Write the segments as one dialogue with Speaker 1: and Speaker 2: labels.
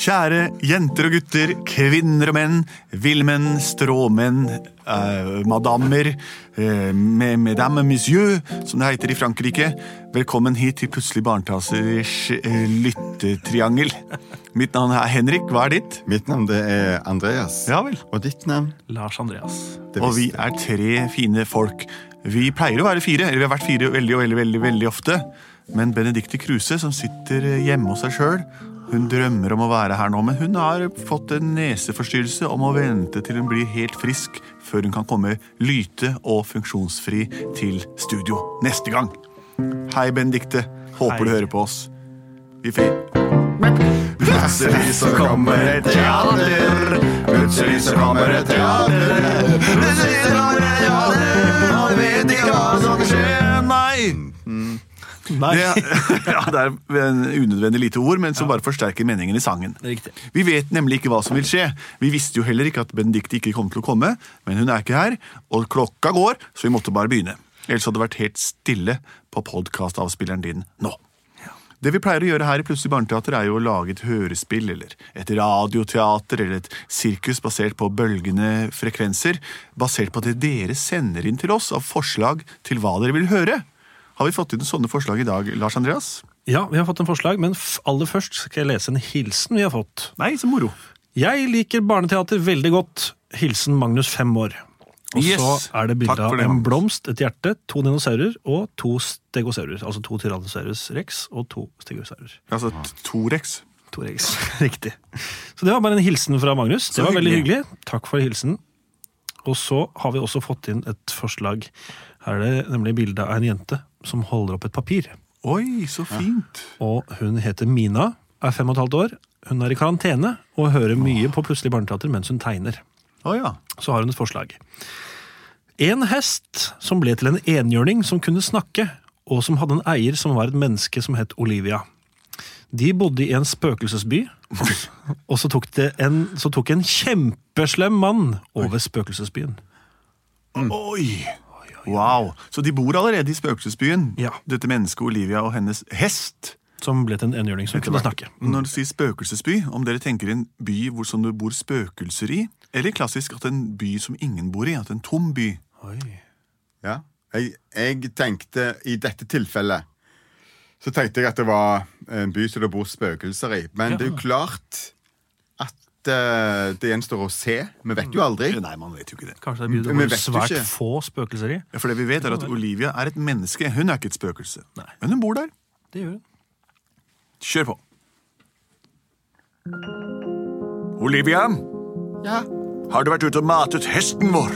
Speaker 1: Kjære jenter og gutter, kvinner og menn, villmenn, stråmenn, eh, madammer, eh, me- mesdames, monsieur, som det heter i Frankrike. Velkommen hit til Plutselig barnetasers eh, lyttetriangel. Mitt navn er Henrik, hva er ditt?
Speaker 2: Mitt navn det er Andreas.
Speaker 1: Ja vel.
Speaker 2: Og ditt navn?
Speaker 3: Lars Andreas.
Speaker 2: Det
Speaker 1: Og vi
Speaker 2: visste jeg.
Speaker 1: er tre fine folk. Vi pleier å være fire, eller vi har vært fire veldig veldig, veldig, veldig ofte. Men Benedicte Kruse, som sitter hjemme hos seg sjøl, hun drømmer om å være her nå, men hun har fått en neseforstyrrelse og må vente til hun blir helt frisk før hun kan komme lyte og funksjonsfri til studio neste gang. Hei, Benedicte. Håper
Speaker 3: Hei.
Speaker 1: du hører på oss. Vi får
Speaker 2: Plutselig så kommer et teater. Plutselig så kommer et teater. Plutselig så kommer et teater. Man vet ikke hva som skjer.
Speaker 1: Nei!
Speaker 3: Nei,
Speaker 1: Det, ja, det er en unødvendig lite ord, men som bare forsterker meningen i sangen.
Speaker 3: Riktig.
Speaker 1: Vi vet nemlig ikke hva som vil skje. Vi visste jo heller ikke at Benedicte ikke kom til å komme, men hun er ikke her, og klokka går, så vi måtte bare begynne. Ellers hadde det vært helt stille på podkastavspilleren din nå. Det vi pleier å gjøre her i Plutselig barneteater, er jo å lage et hørespill eller et radioteater eller et sirkus basert på bølgende frekvenser, basert på det dere sender inn til oss av forslag til hva dere vil høre. Har vi fått inn sånne forslag i dag, Lars Andreas?
Speaker 3: Ja, vi har fått en forslag, men f- aller først skal jeg lese en hilsen vi har fått.
Speaker 1: Nei, så moro.
Speaker 3: Jeg liker barneteater veldig godt. Hilsen Magnus fem år. Og
Speaker 1: Yes.
Speaker 3: så er det bilde
Speaker 1: Takk for
Speaker 3: av
Speaker 1: det,
Speaker 3: en
Speaker 1: Magnus.
Speaker 3: blomst, et hjerte, to dinosaurer og to stegosaurer. Altså to tyrannosaurus rex og to stegosaurer.
Speaker 1: Altså t- Torex.
Speaker 3: To rex. Riktig. Så det var bare en hilsen fra Magnus. Det var veldig
Speaker 1: hyggelig.
Speaker 3: hyggelig. Takk for hilsen. Og så har vi også fått inn et forslag. Her er det nemlig bilde av en jente som holder opp et papir.
Speaker 1: Oi, så fint.
Speaker 3: Og hun heter Mina, er fem og et halvt år. Hun er i karantene og hører mye på Plutselig barneteater mens hun tegner.
Speaker 1: Å ja.
Speaker 3: Så har hun et forslag. En hest som ble til en enhjørning som kunne snakke, og som hadde en eier som var et menneske som het Olivia. De bodde i en spøkelsesby, og så tok, det en, så tok en kjempeslem mann over spøkelsesbyen.
Speaker 1: Oi. Wow. Så de bor allerede i spøkelsesbyen?
Speaker 3: Ja.
Speaker 1: Dette mennesket Olivia og hennes hest?
Speaker 3: Som ble til en enhjørning som kunne snakke.
Speaker 1: Når du sier spøkelsesby, om dere tenker en by hvor som det bor spøkelser i, eller klassisk at en by som ingen bor i, at en tom by.
Speaker 2: Ja. Jeg, jeg tenkte i dette tilfellet så tenkte jeg at det var en by som det bor spøkelser i. Men det er jo klart at eh, det gjenstår å se. Vi vet jo aldri.
Speaker 1: Eller Nei, man vet jo ikke det.
Speaker 3: Kanskje det er
Speaker 2: Men
Speaker 3: byen det
Speaker 2: vet
Speaker 3: bor
Speaker 2: du
Speaker 3: svært
Speaker 2: ikke?
Speaker 3: få spøkelser i.
Speaker 1: Ja, For det vi vet er at Olivia er et menneske, hun er ikke et spøkelse.
Speaker 3: Nei.
Speaker 1: Men hun bor der.
Speaker 3: Det gjør hun.
Speaker 1: Kjør på. Olivia,
Speaker 2: Ja,
Speaker 1: har du vært ute og matet hesten vår?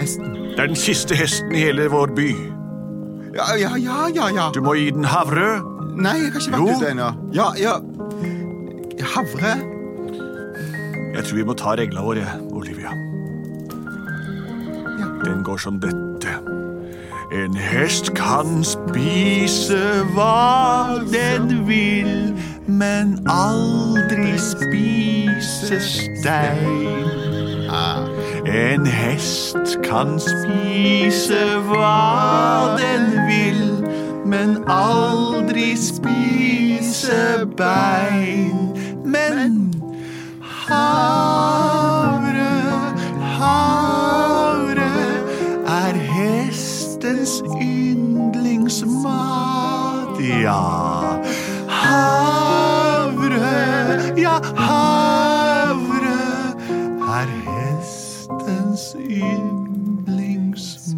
Speaker 2: hesten.
Speaker 1: Det er den siste hesten i hele vår by.
Speaker 2: Ja, ja, ja, ja. ja.
Speaker 1: Du må gi den havre.
Speaker 2: Nei, jeg har ikke
Speaker 1: Jo.
Speaker 2: vært ute ennå. Ja, ja. Havre.
Speaker 1: Jeg tror vi må ta regla vår, jeg, Olivia.
Speaker 2: Ja.
Speaker 1: Den går som dette. En hest kan spise hva den vil, men aldri spise stein. En hest kan spise hva den vil, men aldri spise bein. Men Havre, havre er hestens yndlingsmat. Ja, havre, ja, havre er hestens yndlingsmat.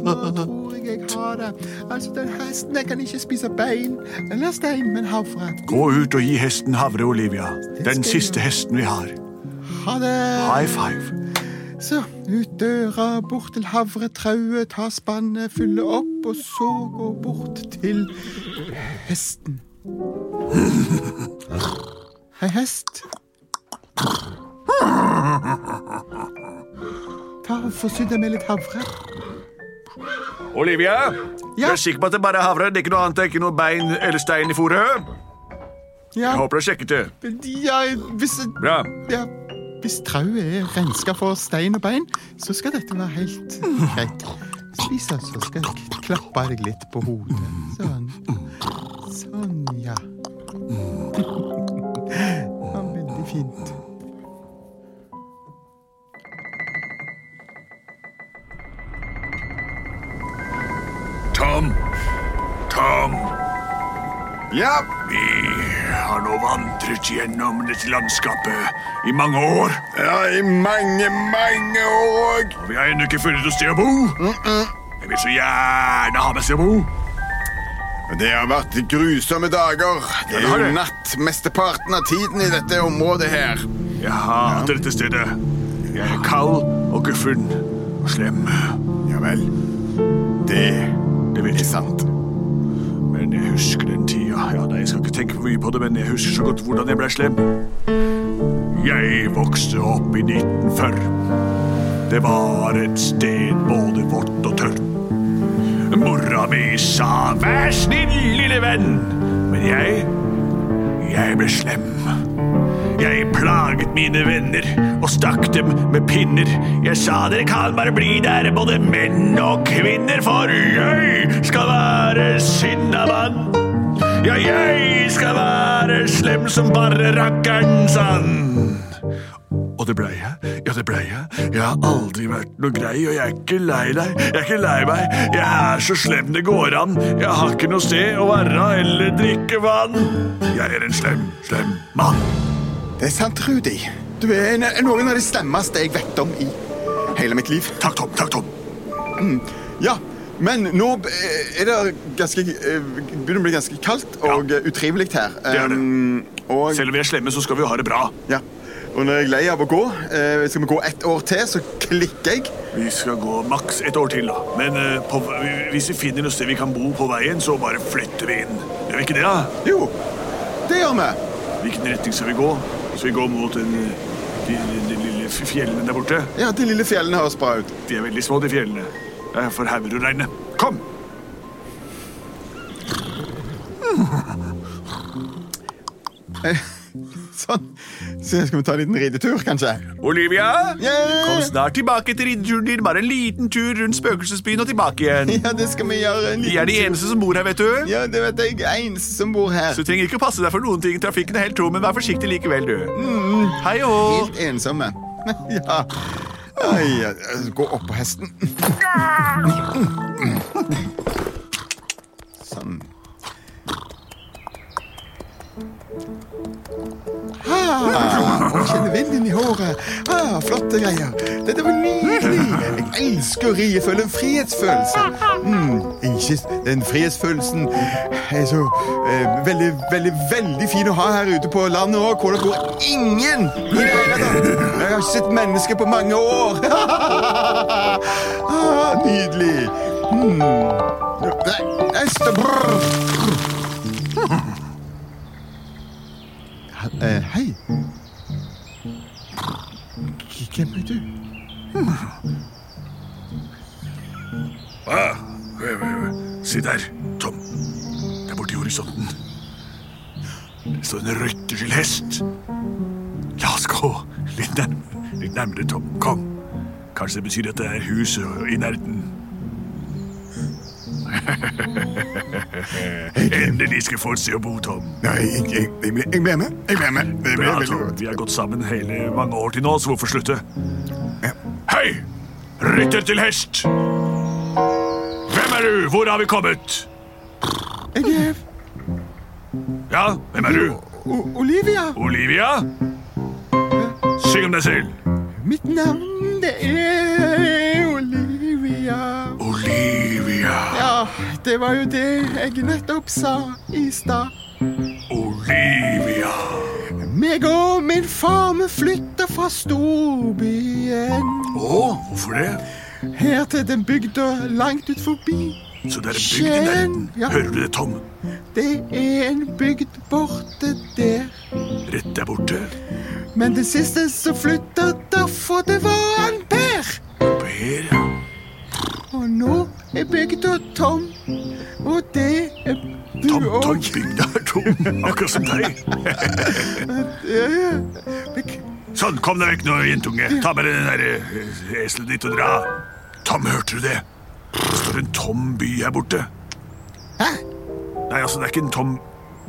Speaker 2: Hvor jeg har det. Altså, den hesten jeg kan ikke spise bein eller stein, men havre.
Speaker 1: Gå ut og gi hesten havre, Olivia. Den siste hesten vi har.
Speaker 2: Ha det.
Speaker 1: High five.
Speaker 2: Så ut døra, bort til havretrauet, ta spannet, fylle opp, og så gå bort til hesten. Hei, hest. Ta og Forsyn deg med litt havre.
Speaker 1: Olivia,
Speaker 2: Ja?
Speaker 1: du er sikker på at det bare er havre? Det er ikke noe annet, det er ikke noe bein eller stein i fôret?
Speaker 2: Ja,
Speaker 1: Jeg håper du har sjekket det.
Speaker 2: ja hvis
Speaker 1: Bra.
Speaker 2: Ja, hvis trauet er renska for stein og bein, så skal dette være helt greit. Spis, altså. Skal jeg k- klappe deg litt på hodet. Sånn. Sånn, ja. fint.
Speaker 1: Tom! Tom!
Speaker 2: Ja,
Speaker 1: Vi har nå vandret gjennom dette landskapet i mange år.
Speaker 2: ja i mange, mange år.
Speaker 1: Og vi har ennå ikke funnet noe sted å bo. Jeg vil så gjerne ha meg sted å bo.
Speaker 2: Det har vært grusomme dager. Det
Speaker 1: det
Speaker 2: er
Speaker 1: har
Speaker 2: jo
Speaker 1: det.
Speaker 2: natt mesteparten av tiden i dette området her.
Speaker 1: Jeg hater dette stedet. Jeg er kald og guffen og slem.
Speaker 2: Ja vel. Det
Speaker 1: Det vet
Speaker 2: er
Speaker 1: jeg.
Speaker 2: sant.
Speaker 1: Men jeg husker den tida. Ja, nei, jeg skal ikke tenke for mye på det, men jeg husker så godt hvordan jeg ble slem. Jeg vokste opp i 1940. Det var et sted både vått og tørt. Mora mi sa 'vær snill, lille venn', men jeg jeg ble slem. Jeg plaget mine venner og stakk dem med pinner. Jeg sa dere kan bare bli der, både menn og kvinner, for jeg skal være sinnamann. Ja, jeg skal være slem som bare rakkeren sann. Og det blei jeg. Ja, det blei jeg. Jeg har aldri vært noe grei, og jeg er ikke lei deg. Jeg er ikke lei meg. Jeg er så slem det går an. Jeg har ikke noe sted å være eller drikke vann. Jeg er en slem, slem mann.
Speaker 2: Det er sant, Rudi. Du er en, noen av de slemmeste jeg vet om i hele mitt liv.
Speaker 1: Takk, Tom. Takk, Tom.
Speaker 2: Ja, men nå b- er det ganske, eh, begynner å bli ganske kaldt og eh, utrivelig her.
Speaker 1: er det.
Speaker 2: Um, Og,
Speaker 1: Selv om vi er slemme, så skal vi jo ha det bra.
Speaker 2: ja. og når jeg er lei av å gå, eh, skal vi gå ett år til, så klikker jeg.
Speaker 1: Vi skal gå maks et år til, da. Men eh, på, hvis vi finner noe sted vi kan bo på veien, så bare flytter vi inn. Gjør vi ikke det, da?
Speaker 2: Jo, det gjør vi.
Speaker 1: Hvilken retning skal vi gå? Skal vi gå mot den, de, de, de lille f- fjellene der borte?
Speaker 2: Ja, De lille fjellene høres bra ut.
Speaker 1: De er veldig små, de fjellene. Det er for hauger å regne. Kom!
Speaker 2: Sånn. Så skal vi ta en liten ridetur, kanskje?
Speaker 1: Olivia!
Speaker 2: Yeah!
Speaker 1: Kom snart tilbake til riddeturen din. Bare en liten tur rundt spøkelsesbyen og tilbake igjen.
Speaker 2: Ja, det skal vi gjøre. En
Speaker 1: Vi er
Speaker 2: liten
Speaker 1: de
Speaker 2: tur.
Speaker 1: eneste som bor her, vet du.
Speaker 2: Ja, det vet jeg. Eneste som bor her.
Speaker 1: Så du trenger ikke å passe deg for noen ting. Trafikken er helt tom, men vær forsiktig likevel, du. Mm, Hei og
Speaker 2: Helt ensomme. Ja. Ai, ja, gå opp på hesten. Sånn. Ah, kjenner vinden i håret. Ah, flotte greier. Dette var nydelig. Jeg elsker å ri. Jeg føler en frihetsfølelse. Mm, ikke, den frihetsfølelsen er så eh, veldig, veldig, veldig fin å ha her ute på landet òg, hvor det bor ingen i det hele tatt. Jeg har ikke sett mennesker på mange år. ah, nydelig. Mm. Nei, hest brr. He- eh, Hei. Hvem er du?
Speaker 1: Ah, øh, øh, øh. Se der, Tom. Der borte i horisonten. Det står en røyterskill hest. La oss gå litt nærmere, litt nærmere, Tom. Kom. Kanskje det betyr at det er hus øh, i nærheten. Endelig skal jeg få et sted å bo, Tom.
Speaker 2: Nei, jeg, jeg, jeg, ble, jeg ble med. Jeg ble med. Det ble
Speaker 1: Bra,
Speaker 2: veldig
Speaker 1: Tom.
Speaker 2: godt.
Speaker 1: altså, Vi har gått sammen hele mange år til nå, så hvorfor slutte?
Speaker 2: Ja.
Speaker 1: Hei! Rytter til hest! Hvem er du? Hvor har vi kommet?
Speaker 2: Jeg er
Speaker 1: Ja, hvem er du?
Speaker 2: o Olivia.
Speaker 1: Olivia? Syng om deg selv.
Speaker 2: Mitt navn det er Olivia.
Speaker 1: Olivia,
Speaker 2: Ja, det var jo det jeg nettopp sa i stad.
Speaker 1: Olivia.
Speaker 2: Meg og min far vi flytta fra storbyen
Speaker 1: Å, hvorfor det?
Speaker 2: her til den bygda langt ut forbi.
Speaker 1: Så det er en bygd i nærheten.
Speaker 2: Ja.
Speaker 1: Hører du det, Tom?
Speaker 2: Det er en bygd borte der.
Speaker 1: Rett der borte.
Speaker 2: Men det siste som flytta derfor, det var en Per.
Speaker 1: Per, ja.
Speaker 2: Og nå er bygda tom, og det er du
Speaker 1: Tom, Tom,
Speaker 2: òg.
Speaker 1: bygda er tom. Akkurat som deg. Sånn, kom deg vekk nå, jentunge. Ta med deg den der eh, eselet ditt og dra. Tom, hørte du det? Det står en tom by her borte.
Speaker 2: Hæ?
Speaker 1: Nei, altså, det er ikke en tom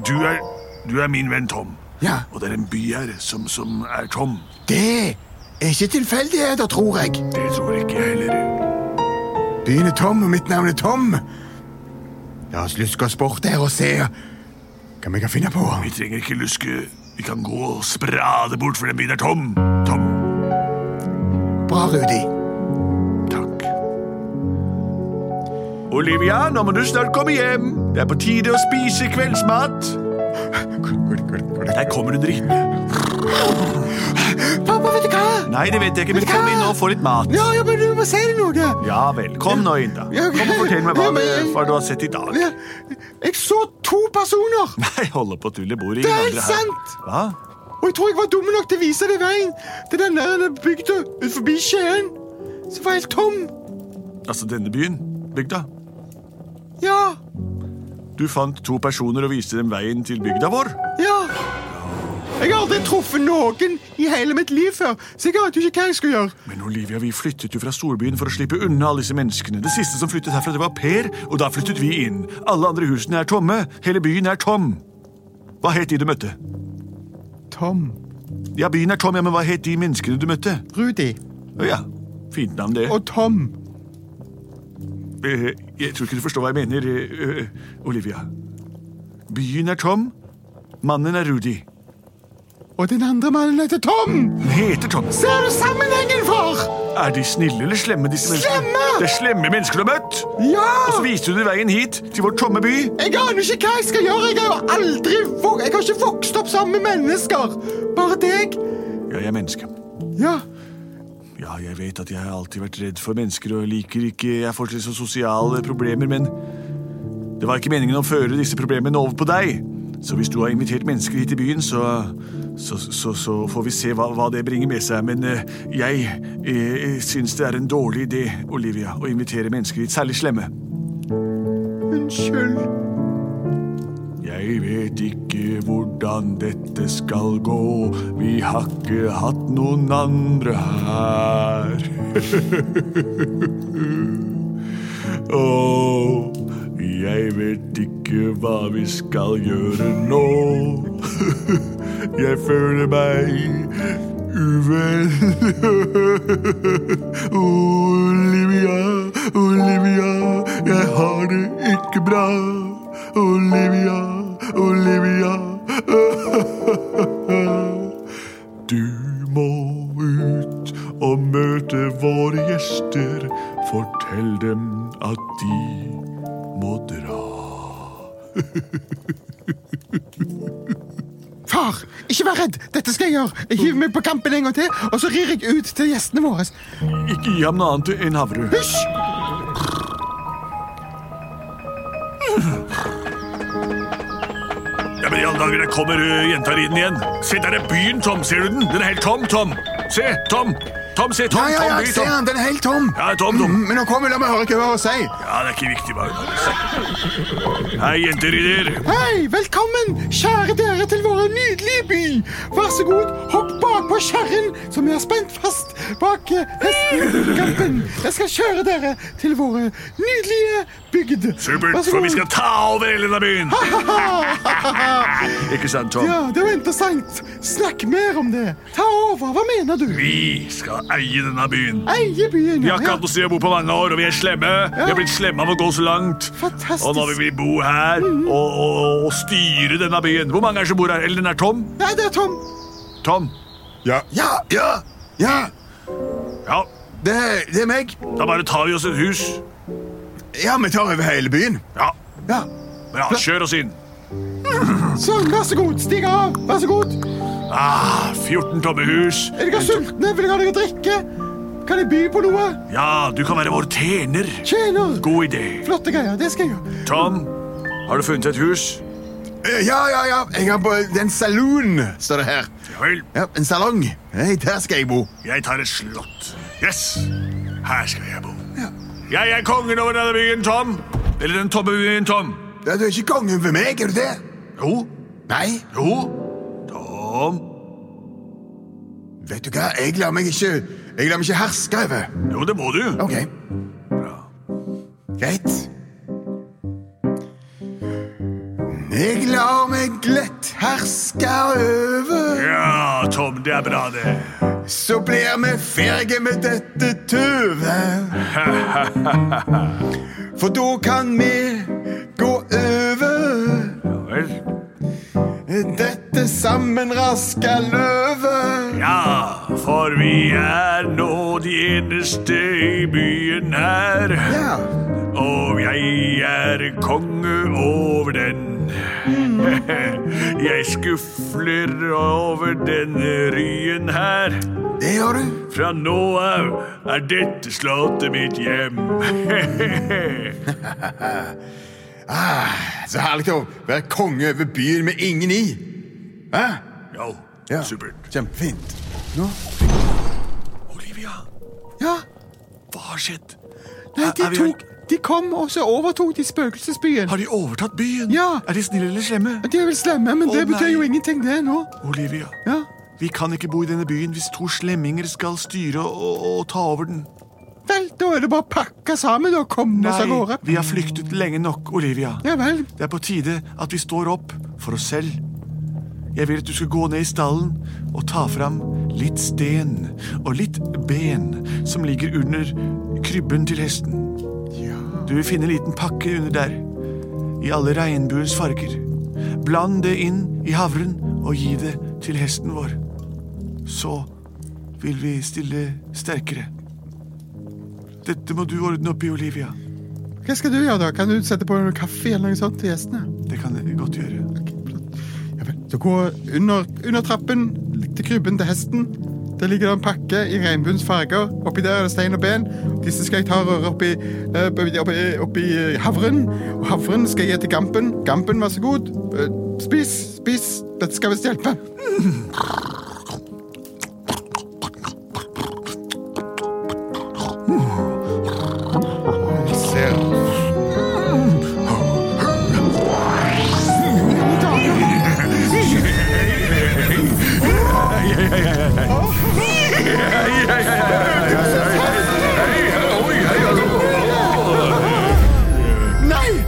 Speaker 1: Du er, du er min venn Tom.
Speaker 2: Ja.
Speaker 1: Og det er en by her som, som er tom.
Speaker 2: Det er ikke tilfeldigheter, tror jeg.
Speaker 1: Det tror ikke jeg heller.
Speaker 2: Byen er tom, og mitt navn er Tom. La oss luske oss bort der og se hva vi kan finne på.
Speaker 1: Vi trenger ikke luske. Vi kan gå og sprade bort, for den byen er tom. Tom.
Speaker 2: Bra, Rudi.
Speaker 1: Takk. Olivia, nå må du snart komme hjem. Det er på tide å spise kveldsmat. Der kommer hun dritt.
Speaker 2: Pappa, vet du hva?
Speaker 1: Nei, det vet jeg ikke, men kom inn og få litt mat.
Speaker 2: Ja, ja, men du må si det noe.
Speaker 1: Ja vel. Kom nå inn, da.
Speaker 2: Ja, ok.
Speaker 1: Kom og fortell meg hva,
Speaker 2: Ja, men-
Speaker 1: det- hva du har sett i dag.
Speaker 2: Ja, Jeg så to personer,
Speaker 1: Nei, holde på å tulle bordet.
Speaker 2: Det er
Speaker 1: ingen andre her.
Speaker 2: sant!
Speaker 1: Hva?
Speaker 2: og jeg tror jeg var dum nok til å vise deg veien til den der bygda ut forbi Skien, som var helt tom.
Speaker 1: Altså, denne byen, bygda.
Speaker 2: Ja,
Speaker 1: Du fant to personer og viste dem veien til bygda vår.
Speaker 2: ja. Jeg har aldri truffet noen i hele mitt liv før, så jeg ante jo ikke hva jeg skulle gjøre.
Speaker 1: Men Olivia, vi flyttet jo fra storbyen for å slippe unna alle disse menneskene. Det siste som flyttet herfra, det var Per, og da flyttet vi inn. Alle andre husene er tomme. Hele byen er tom. Hva het de du møtte?
Speaker 2: Tom.
Speaker 1: Ja, byen er tom, ja, men hva het de menneskene du møtte?
Speaker 2: Rudi.
Speaker 1: Å ja, fint navn det.
Speaker 2: Og Tom.
Speaker 1: Eh, Jeg tror ikke du forstår hva jeg mener, eh, eh, Olivia. Byen er tom. Mannen er Rudi.
Speaker 2: Og den andre mannen heter Tom.
Speaker 1: Den heter Tom.
Speaker 2: Ser du sammenhengen, far?
Speaker 1: Er de snille eller slemme, disse menneskene?
Speaker 2: Slemme!
Speaker 1: Det er slemme mennesker du har møtt!
Speaker 2: Ja!
Speaker 1: Og så viste du dem veien hit, til vår tomme by.
Speaker 2: Jeg aner ikke hva jeg skal gjøre. Jeg har jo aldri vok jeg har ikke vokst opp sammen med mennesker. Bare deg.
Speaker 1: Ja, jeg er menneske.
Speaker 2: Ja.
Speaker 1: Ja, jeg vet at jeg har alltid vært redd for mennesker og liker ikke Jeg får litt sånn sosiale problemer, men det var ikke meningen å føre disse problemene over på deg. Så hvis du har invitert mennesker hit til byen, så så, så, så får vi se hva, hva det bringer med seg. Men eh, jeg eh, syns det er en dårlig idé, Olivia, å invitere mennesker hit, særlig slemme.
Speaker 2: Unnskyld.
Speaker 1: Jeg vet ikke hvordan dette skal gå. Vi har ikke hatt noen andre her. Åh, jeg vet ikke hva vi skal gjøre nå. Jeg føler meg uvel. Olivia, Olivia, jeg har det ikke bra. Olivia, Olivia. Du må ut og møte våre gjester. Fortell dem at de må dra.
Speaker 2: Far, ikke vær redd. Dette skal jeg gjøre. Jeg hiver meg på kampen en gang til, og så rir jeg ut til gjestene våre.
Speaker 1: Ikke gi ham noe annet enn havre.
Speaker 2: Hysj!
Speaker 1: Ja, men i alle dager, der kommer ø, jenta ridende igjen. Se, der er byen, Tom. Ser du den? Den er helt tom, Tom. Se, Tom. Tom, se, Tom,
Speaker 2: Ja, ja, ja,
Speaker 1: tom, by,
Speaker 2: jeg
Speaker 1: tom.
Speaker 2: ser han. Den er helt tom.
Speaker 1: Ja, tom, tom.
Speaker 2: Men nå kommer vi, la meg høre hva hun har å si.
Speaker 1: Ja, det er ikke viktig hva hun har å si. Hei, jenterydder.
Speaker 2: Hei, velkommen, kjære dere, til vår nydelige by. Vær så god, hopp bakpå kjerren som vi har spent fast bak eh, hestekampen. Jeg skal kjøre dere til våre nydelige bygd.
Speaker 1: Supert,
Speaker 2: Vær så
Speaker 1: for vi
Speaker 2: god.
Speaker 1: skal ta over hele denne byen. Ikke sant, Tom?
Speaker 2: Ja, det var interessant. Snakk mer om det. Ta over. Hva mener du?
Speaker 1: Vi skal eie denne byen.
Speaker 2: Eie byen.
Speaker 1: Vi
Speaker 2: ja,
Speaker 1: har ikke hatt
Speaker 2: ja.
Speaker 1: noe sted å bo på mange år, og vi er slemme. Vi har blitt slemme av å gå så langt.
Speaker 2: Fantastisk.
Speaker 1: Og nå vil vi bo her og, og, og styre denne byen. Hvor mange er det som bor her? Eller den er tom?
Speaker 2: Nei, det er Tom.
Speaker 1: Tom?
Speaker 4: Ja.
Speaker 2: Ja,
Speaker 1: Ja.
Speaker 2: ja.
Speaker 1: Ja,
Speaker 4: Det, det er meg.
Speaker 1: Da bare tar vi oss et hus.
Speaker 4: Ja, vi tar over hele byen.
Speaker 1: Ja,
Speaker 4: Ja.
Speaker 1: bra. Kjør oss inn.
Speaker 2: Sånn, vær så god. Stig av. Vær så god.
Speaker 1: Ah, 14 tomme hus.
Speaker 2: Er dere sultne? Vil dere ha noe å drikke? Kan jeg by på noe?
Speaker 1: Ja, du kan være vår tjener.
Speaker 2: Tjener.
Speaker 1: God idé.
Speaker 2: Flotte greier. Det skal jeg gjøre.
Speaker 1: Tom, har du funnet et hus?
Speaker 4: Eh, Ja, ja, ja. Jeg har på- det er en saloon, står det her.
Speaker 1: Ja vel.
Speaker 4: Ja, En salong. Hei, der skal jeg bo.
Speaker 1: Jeg tar et slott. Yes. Her skal jeg bo. Jeg er kongen over denne byen, Tom. Eller den tomme byen, Tom.
Speaker 4: Ja, du er ikke kongen over meg, er du det?
Speaker 1: Jo.
Speaker 4: Nei.
Speaker 1: Jo. Tom.
Speaker 4: Vet du hva, jeg lar meg ikke, jeg lar meg ikke herske over.
Speaker 1: Jo, det må du.
Speaker 4: Ok. Greit. Jeg lar meg meg lett herske over,
Speaker 1: Ja, Tom, det er bra, det.
Speaker 4: så blir vi ferdige med dette tøvet. For da kan vi gå over
Speaker 1: Ja vel.
Speaker 4: dette sammenraska løvet.
Speaker 1: Ja, for vi er nå de eneste i byen her.
Speaker 4: Ja,
Speaker 1: Og jeg er konge over den. Jeg skufler over denne ryen her.
Speaker 4: det gjør du.
Speaker 1: Fra nå av er dette slottet mitt hjem.
Speaker 4: Så herlig å være konge over byen med ingen i. Hæ?
Speaker 1: Ja,
Speaker 4: Ja,
Speaker 1: supert.
Speaker 4: Kjempefint.
Speaker 1: Olivia,
Speaker 2: Ja,
Speaker 1: hva har skjedd?
Speaker 2: nei,
Speaker 1: Er-
Speaker 2: de
Speaker 1: er vi-
Speaker 2: tok De kom, og så overtok de spøkelsesbyen.
Speaker 1: Har de overtatt byen?
Speaker 2: Ja.
Speaker 1: Er de snille eller slemme?
Speaker 2: De er vel slemme, men
Speaker 1: Å,
Speaker 2: det betyr
Speaker 1: nei.
Speaker 2: jo ingenting, det nå.
Speaker 1: Olivia,
Speaker 2: Ja.
Speaker 1: vi kan ikke bo i denne byen hvis to slemminger skal styre og, og ta over den.
Speaker 2: Vel, da er det bare å pakke sammen og komme oss av gårde.
Speaker 1: vi har flyktet lenge nok, Olivia.
Speaker 2: Ja vel.
Speaker 1: Det er på tide at vi står opp for oss selv. Jeg vil at du skal gå ned i stallen og ta fram litt sten og litt ben som ligger under krybben til hesten. Du vil finne en liten pakke under der, i alle regnbuens farger. Bland det inn i havren og gi det til hesten vår. Så vil vi stille sterkere. Dette må du ordne opp i, Olivia.
Speaker 2: Hva skal du gjøre, da? Kan du sette på noe kaffe eller noe sånt til gjestene?
Speaker 1: Det kan jeg godt gjøre.
Speaker 2: Ok, flott. Ja vel. Så gå under, under trappen til krybben til hesten. Der ligger det en pakke i regnbuens farger. Oppi der er det stein og ben. Disse skal jeg ta og røre oppi, eh, oppi, oppi, oppi eh, havren. Og havren skal jeg gi til Gampen. Gampen, vær så god. Eh, Spis, spis. Dette skal visst hjelpe.
Speaker 4: Ser.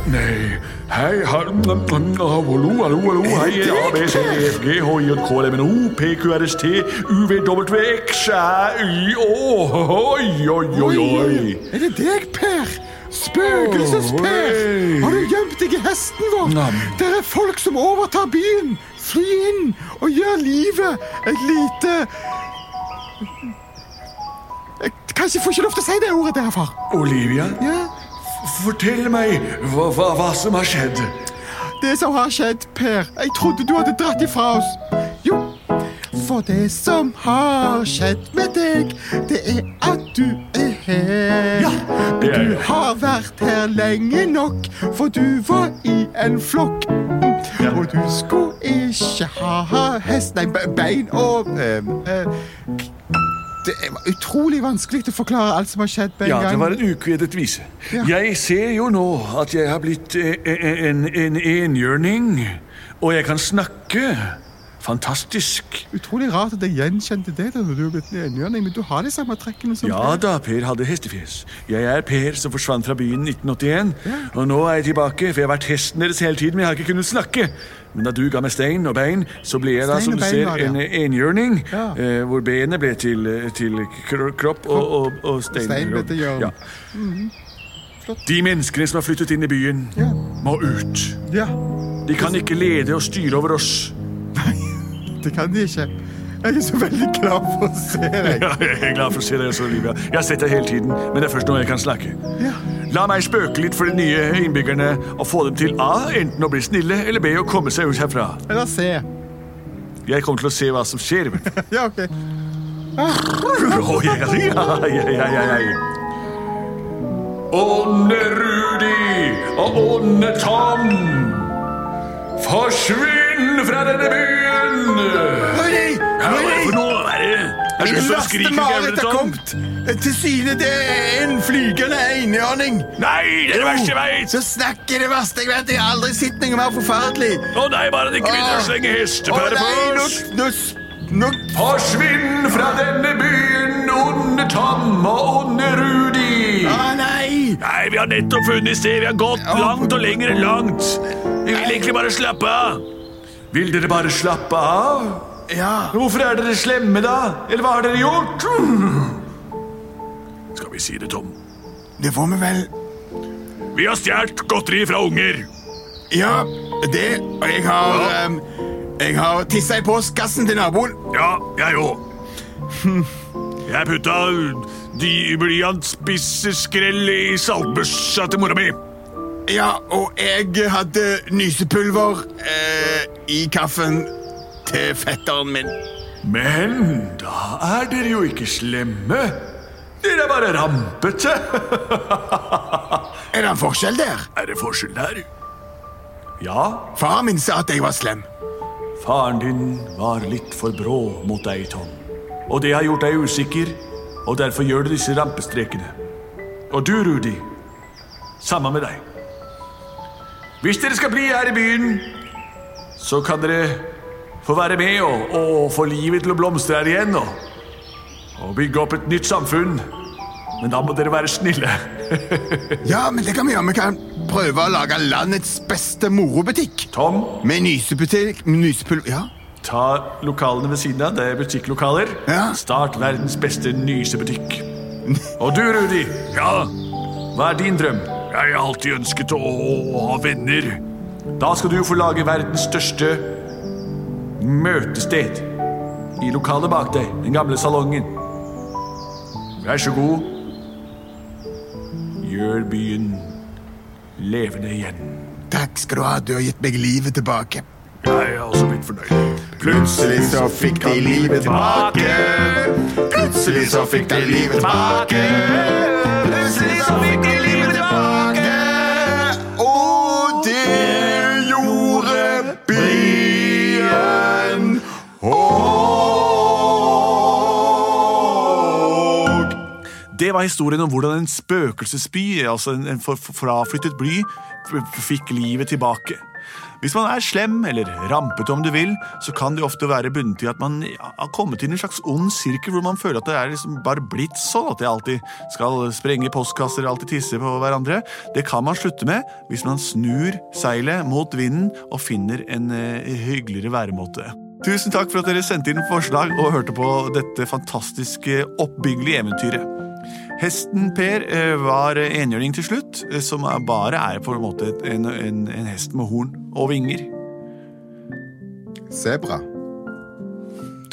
Speaker 5: Nei. Hei, ha- nam, nam, nam, hallo, hallo, hallo. Hei, A, B, C, D, E, F, G, H, I, J, K, L, M, N, O, P, Q, R, S, T, U, V, W, X, Æ, Y, Å, oi, oi, oi, oi.
Speaker 2: Er det deg, Per? Spøkelses-Per!
Speaker 5: Oi.
Speaker 2: Har du gjemt deg i hesten vår?
Speaker 5: Nam.
Speaker 2: Det er folk som overtar byen! Fly inn og gjør livet et lite Jeg Kanskje jeg får ikke lov til å si det ordet der, far.
Speaker 5: Olivia,
Speaker 2: Ja.
Speaker 5: fortell meg hva, hva, hva som har skjedd.
Speaker 2: Det som har skjedd, Per Jeg trodde du hadde dratt ifra oss. Jo, for det som har skjedd med deg, det er at du er her.
Speaker 5: det er
Speaker 2: du
Speaker 5: jeg.
Speaker 2: har vært her lenge nok, for du var i en flokk. Og du skulle ikke ha hest Nei, be- bein og eh, eh, Det var utrolig vanskelig å forklare alt som har skjedd på en
Speaker 5: Ja,
Speaker 2: gang.
Speaker 5: det var en ukvedet vise.
Speaker 2: Ja.
Speaker 5: Jeg ser jo nå at jeg har blitt eh, eh, en, en enhjørning, og jeg kan snakke. Fantastisk.
Speaker 2: Utrolig rart at jeg gjenkjente det da du er blitt en enhjørning, men du har de samme trekkene som
Speaker 5: Ja da, Per hadde hestefjes. Jeg er Per som forsvant fra byen 1981. Og nå er jeg tilbake, for jeg har vært hesten deres hele tiden, men jeg har ikke kunnet snakke. Men da du ga meg stein og bein, så ble jeg da,
Speaker 2: Stein
Speaker 5: som
Speaker 2: og
Speaker 5: du
Speaker 2: bein
Speaker 5: ser,
Speaker 2: var det,
Speaker 5: en
Speaker 2: ja.
Speaker 5: enhjørning.
Speaker 2: Ja.
Speaker 5: eh, Hvor benet ble til, eh, til kro- kropp og, og, og stein.
Speaker 2: Stein ble til hjørn. Mhm. Flott.
Speaker 5: De menneskene som har flyttet inn i byen,
Speaker 2: Ja.
Speaker 5: må ut.
Speaker 2: Ja,
Speaker 5: De kan ikke lede og styre over oss.
Speaker 2: det kan de ikke. Jeg er så veldig glad for å se deg.
Speaker 5: Ja, jeg er glad for å se deg også, Olivia. Jeg har sett deg hele tiden, men det er først nå jeg kan snakke.
Speaker 2: Ja.
Speaker 5: La meg spøke litt for de nye innbyggerne og få dem til A, enten å bli snille, eller B, å komme seg ut herfra.
Speaker 2: Eller se.
Speaker 5: Jeg kommer til å se hva som skjer. Men...
Speaker 2: Ja, ok.
Speaker 5: Å, ja, ja, ja, ja, ja, ja. Ånne Rudi og Ånne Tom, forsvinn fra denne byen!
Speaker 4: Hurry! Hurri!
Speaker 5: nå er det? Jeg
Speaker 4: Min verste mareritt har kommet. Til syne det er en flygende enhjørning.
Speaker 5: Nei, det er det verste jeg vet!
Speaker 4: Så snakker det verste jeg vet. Jeg har aldri sett noe mer forferdelig.
Speaker 5: Å nei, bare det ikke begynner å
Speaker 4: Åh.
Speaker 5: slenge
Speaker 4: Å
Speaker 5: hestepærer på
Speaker 4: nei, nå,
Speaker 5: oss!
Speaker 4: nå, s- nå
Speaker 5: Forsvinn fra denne byen, onde Tom og onde Rudi!
Speaker 4: Å nei!
Speaker 5: Nei, vi har nettopp funnet sted. Vi har gått langt og lenger enn langt. Vi vil egentlig bare slappe av. Vil dere bare slappe av?
Speaker 4: Ja.
Speaker 5: Hvorfor er dere slemme, da? Eller hva har dere gjort? Skal vi si det, Tom?
Speaker 4: Det får vi vel.
Speaker 5: Vi har stjålet godteri fra unger.
Speaker 4: Ja, det. Og jeg har ehm, Jeg har tissa i postkassen til naboen.
Speaker 5: Ja, jeg òg. Jeg putta de blyantspisse skrell i saltbøssa til mora mi.
Speaker 4: Ja, og jeg hadde nysepulver eh, i kaffen til fetteren min.
Speaker 5: Men da er dere jo ikke slemme. Dere er bare rampete.
Speaker 4: Er det en forskjell der?
Speaker 5: Er det forskjell der? Ja,
Speaker 4: Faren min sa at jeg var slem.
Speaker 5: faren din var litt for brå mot deg, Tom. Og det har gjort deg usikker, og derfor gjør du disse rampestrekene. Og du, Rudi, samme med deg. Hvis dere skal bli her i byen, så kan dere få være med og, og få livet til å blomstre her igjen og, og bygge opp et nytt samfunn. Men da må dere være snille.
Speaker 4: Ja, men det kan vi gjøre. Vi kan prøve å lage landets beste morobutikk.
Speaker 5: Tom,
Speaker 4: Med nysebutikk med Nysepulver Ja.
Speaker 5: Ta lokalene ved siden av, det er butikklokaler.
Speaker 4: Ja.
Speaker 5: Start verdens beste nysebutikk. Og du, Rudi. Ja? Hva er din drøm? Jeg har alltid ønsket å, ha venner. Da skal du få lage verdens største møtested. I lokalet bak deg, den gamle salongen. Vær så god. Gjør byen levende igjen.
Speaker 4: Takk skal du ha. Du har gitt meg livet tilbake.
Speaker 5: Jeg er også vidt fornøyd.
Speaker 4: Plutselig så fikk de livet tilbake. Plutselig så fikk de livet tilbake. Plutselig så fikk de livet tilbake. Og det gjorde byen òg.
Speaker 1: Det var historien om hvordan en spøkelsesby, altså en, en for, for- fraflyttet bly, f- fikk livet tilbake. Hvis man er slem, eller rampete om du vil, så kan det ofte være bundet i at man har kommet inn i en slags ond sirkel hvor man føler at det er liksom bare blitt sånn at det alltid skal sprenge postkasser og alltid tisse på hverandre. Det kan man slutte med hvis man snur seilet mot vinden og finner en eh, hyggeligere væremåte. Tusen takk for at dere sendte inn forslag og hørte på dette fantastiske, oppbyggelige eventyret. Hesten Per eh, var enhjørning til slutt, eh, som er- bare er på en måte et- en, en, en hest med horn og vinger.
Speaker 4: Sebra.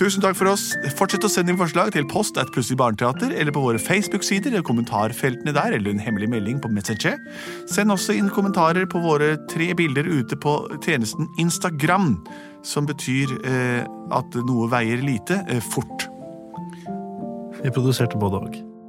Speaker 1: Tusen takk for oss. Fortsett å sende inn forslag til post at plutselig barneteater, eller på våre Facebook-sider eller kommentarfeltene der, eller en hemmelig melding på Messenger. Send også inn kommentarer på våre tre bilder ute på tjenesten Instagram, som betyr eh, at noe veier lite eh, fort.
Speaker 3: Vi produserte både og.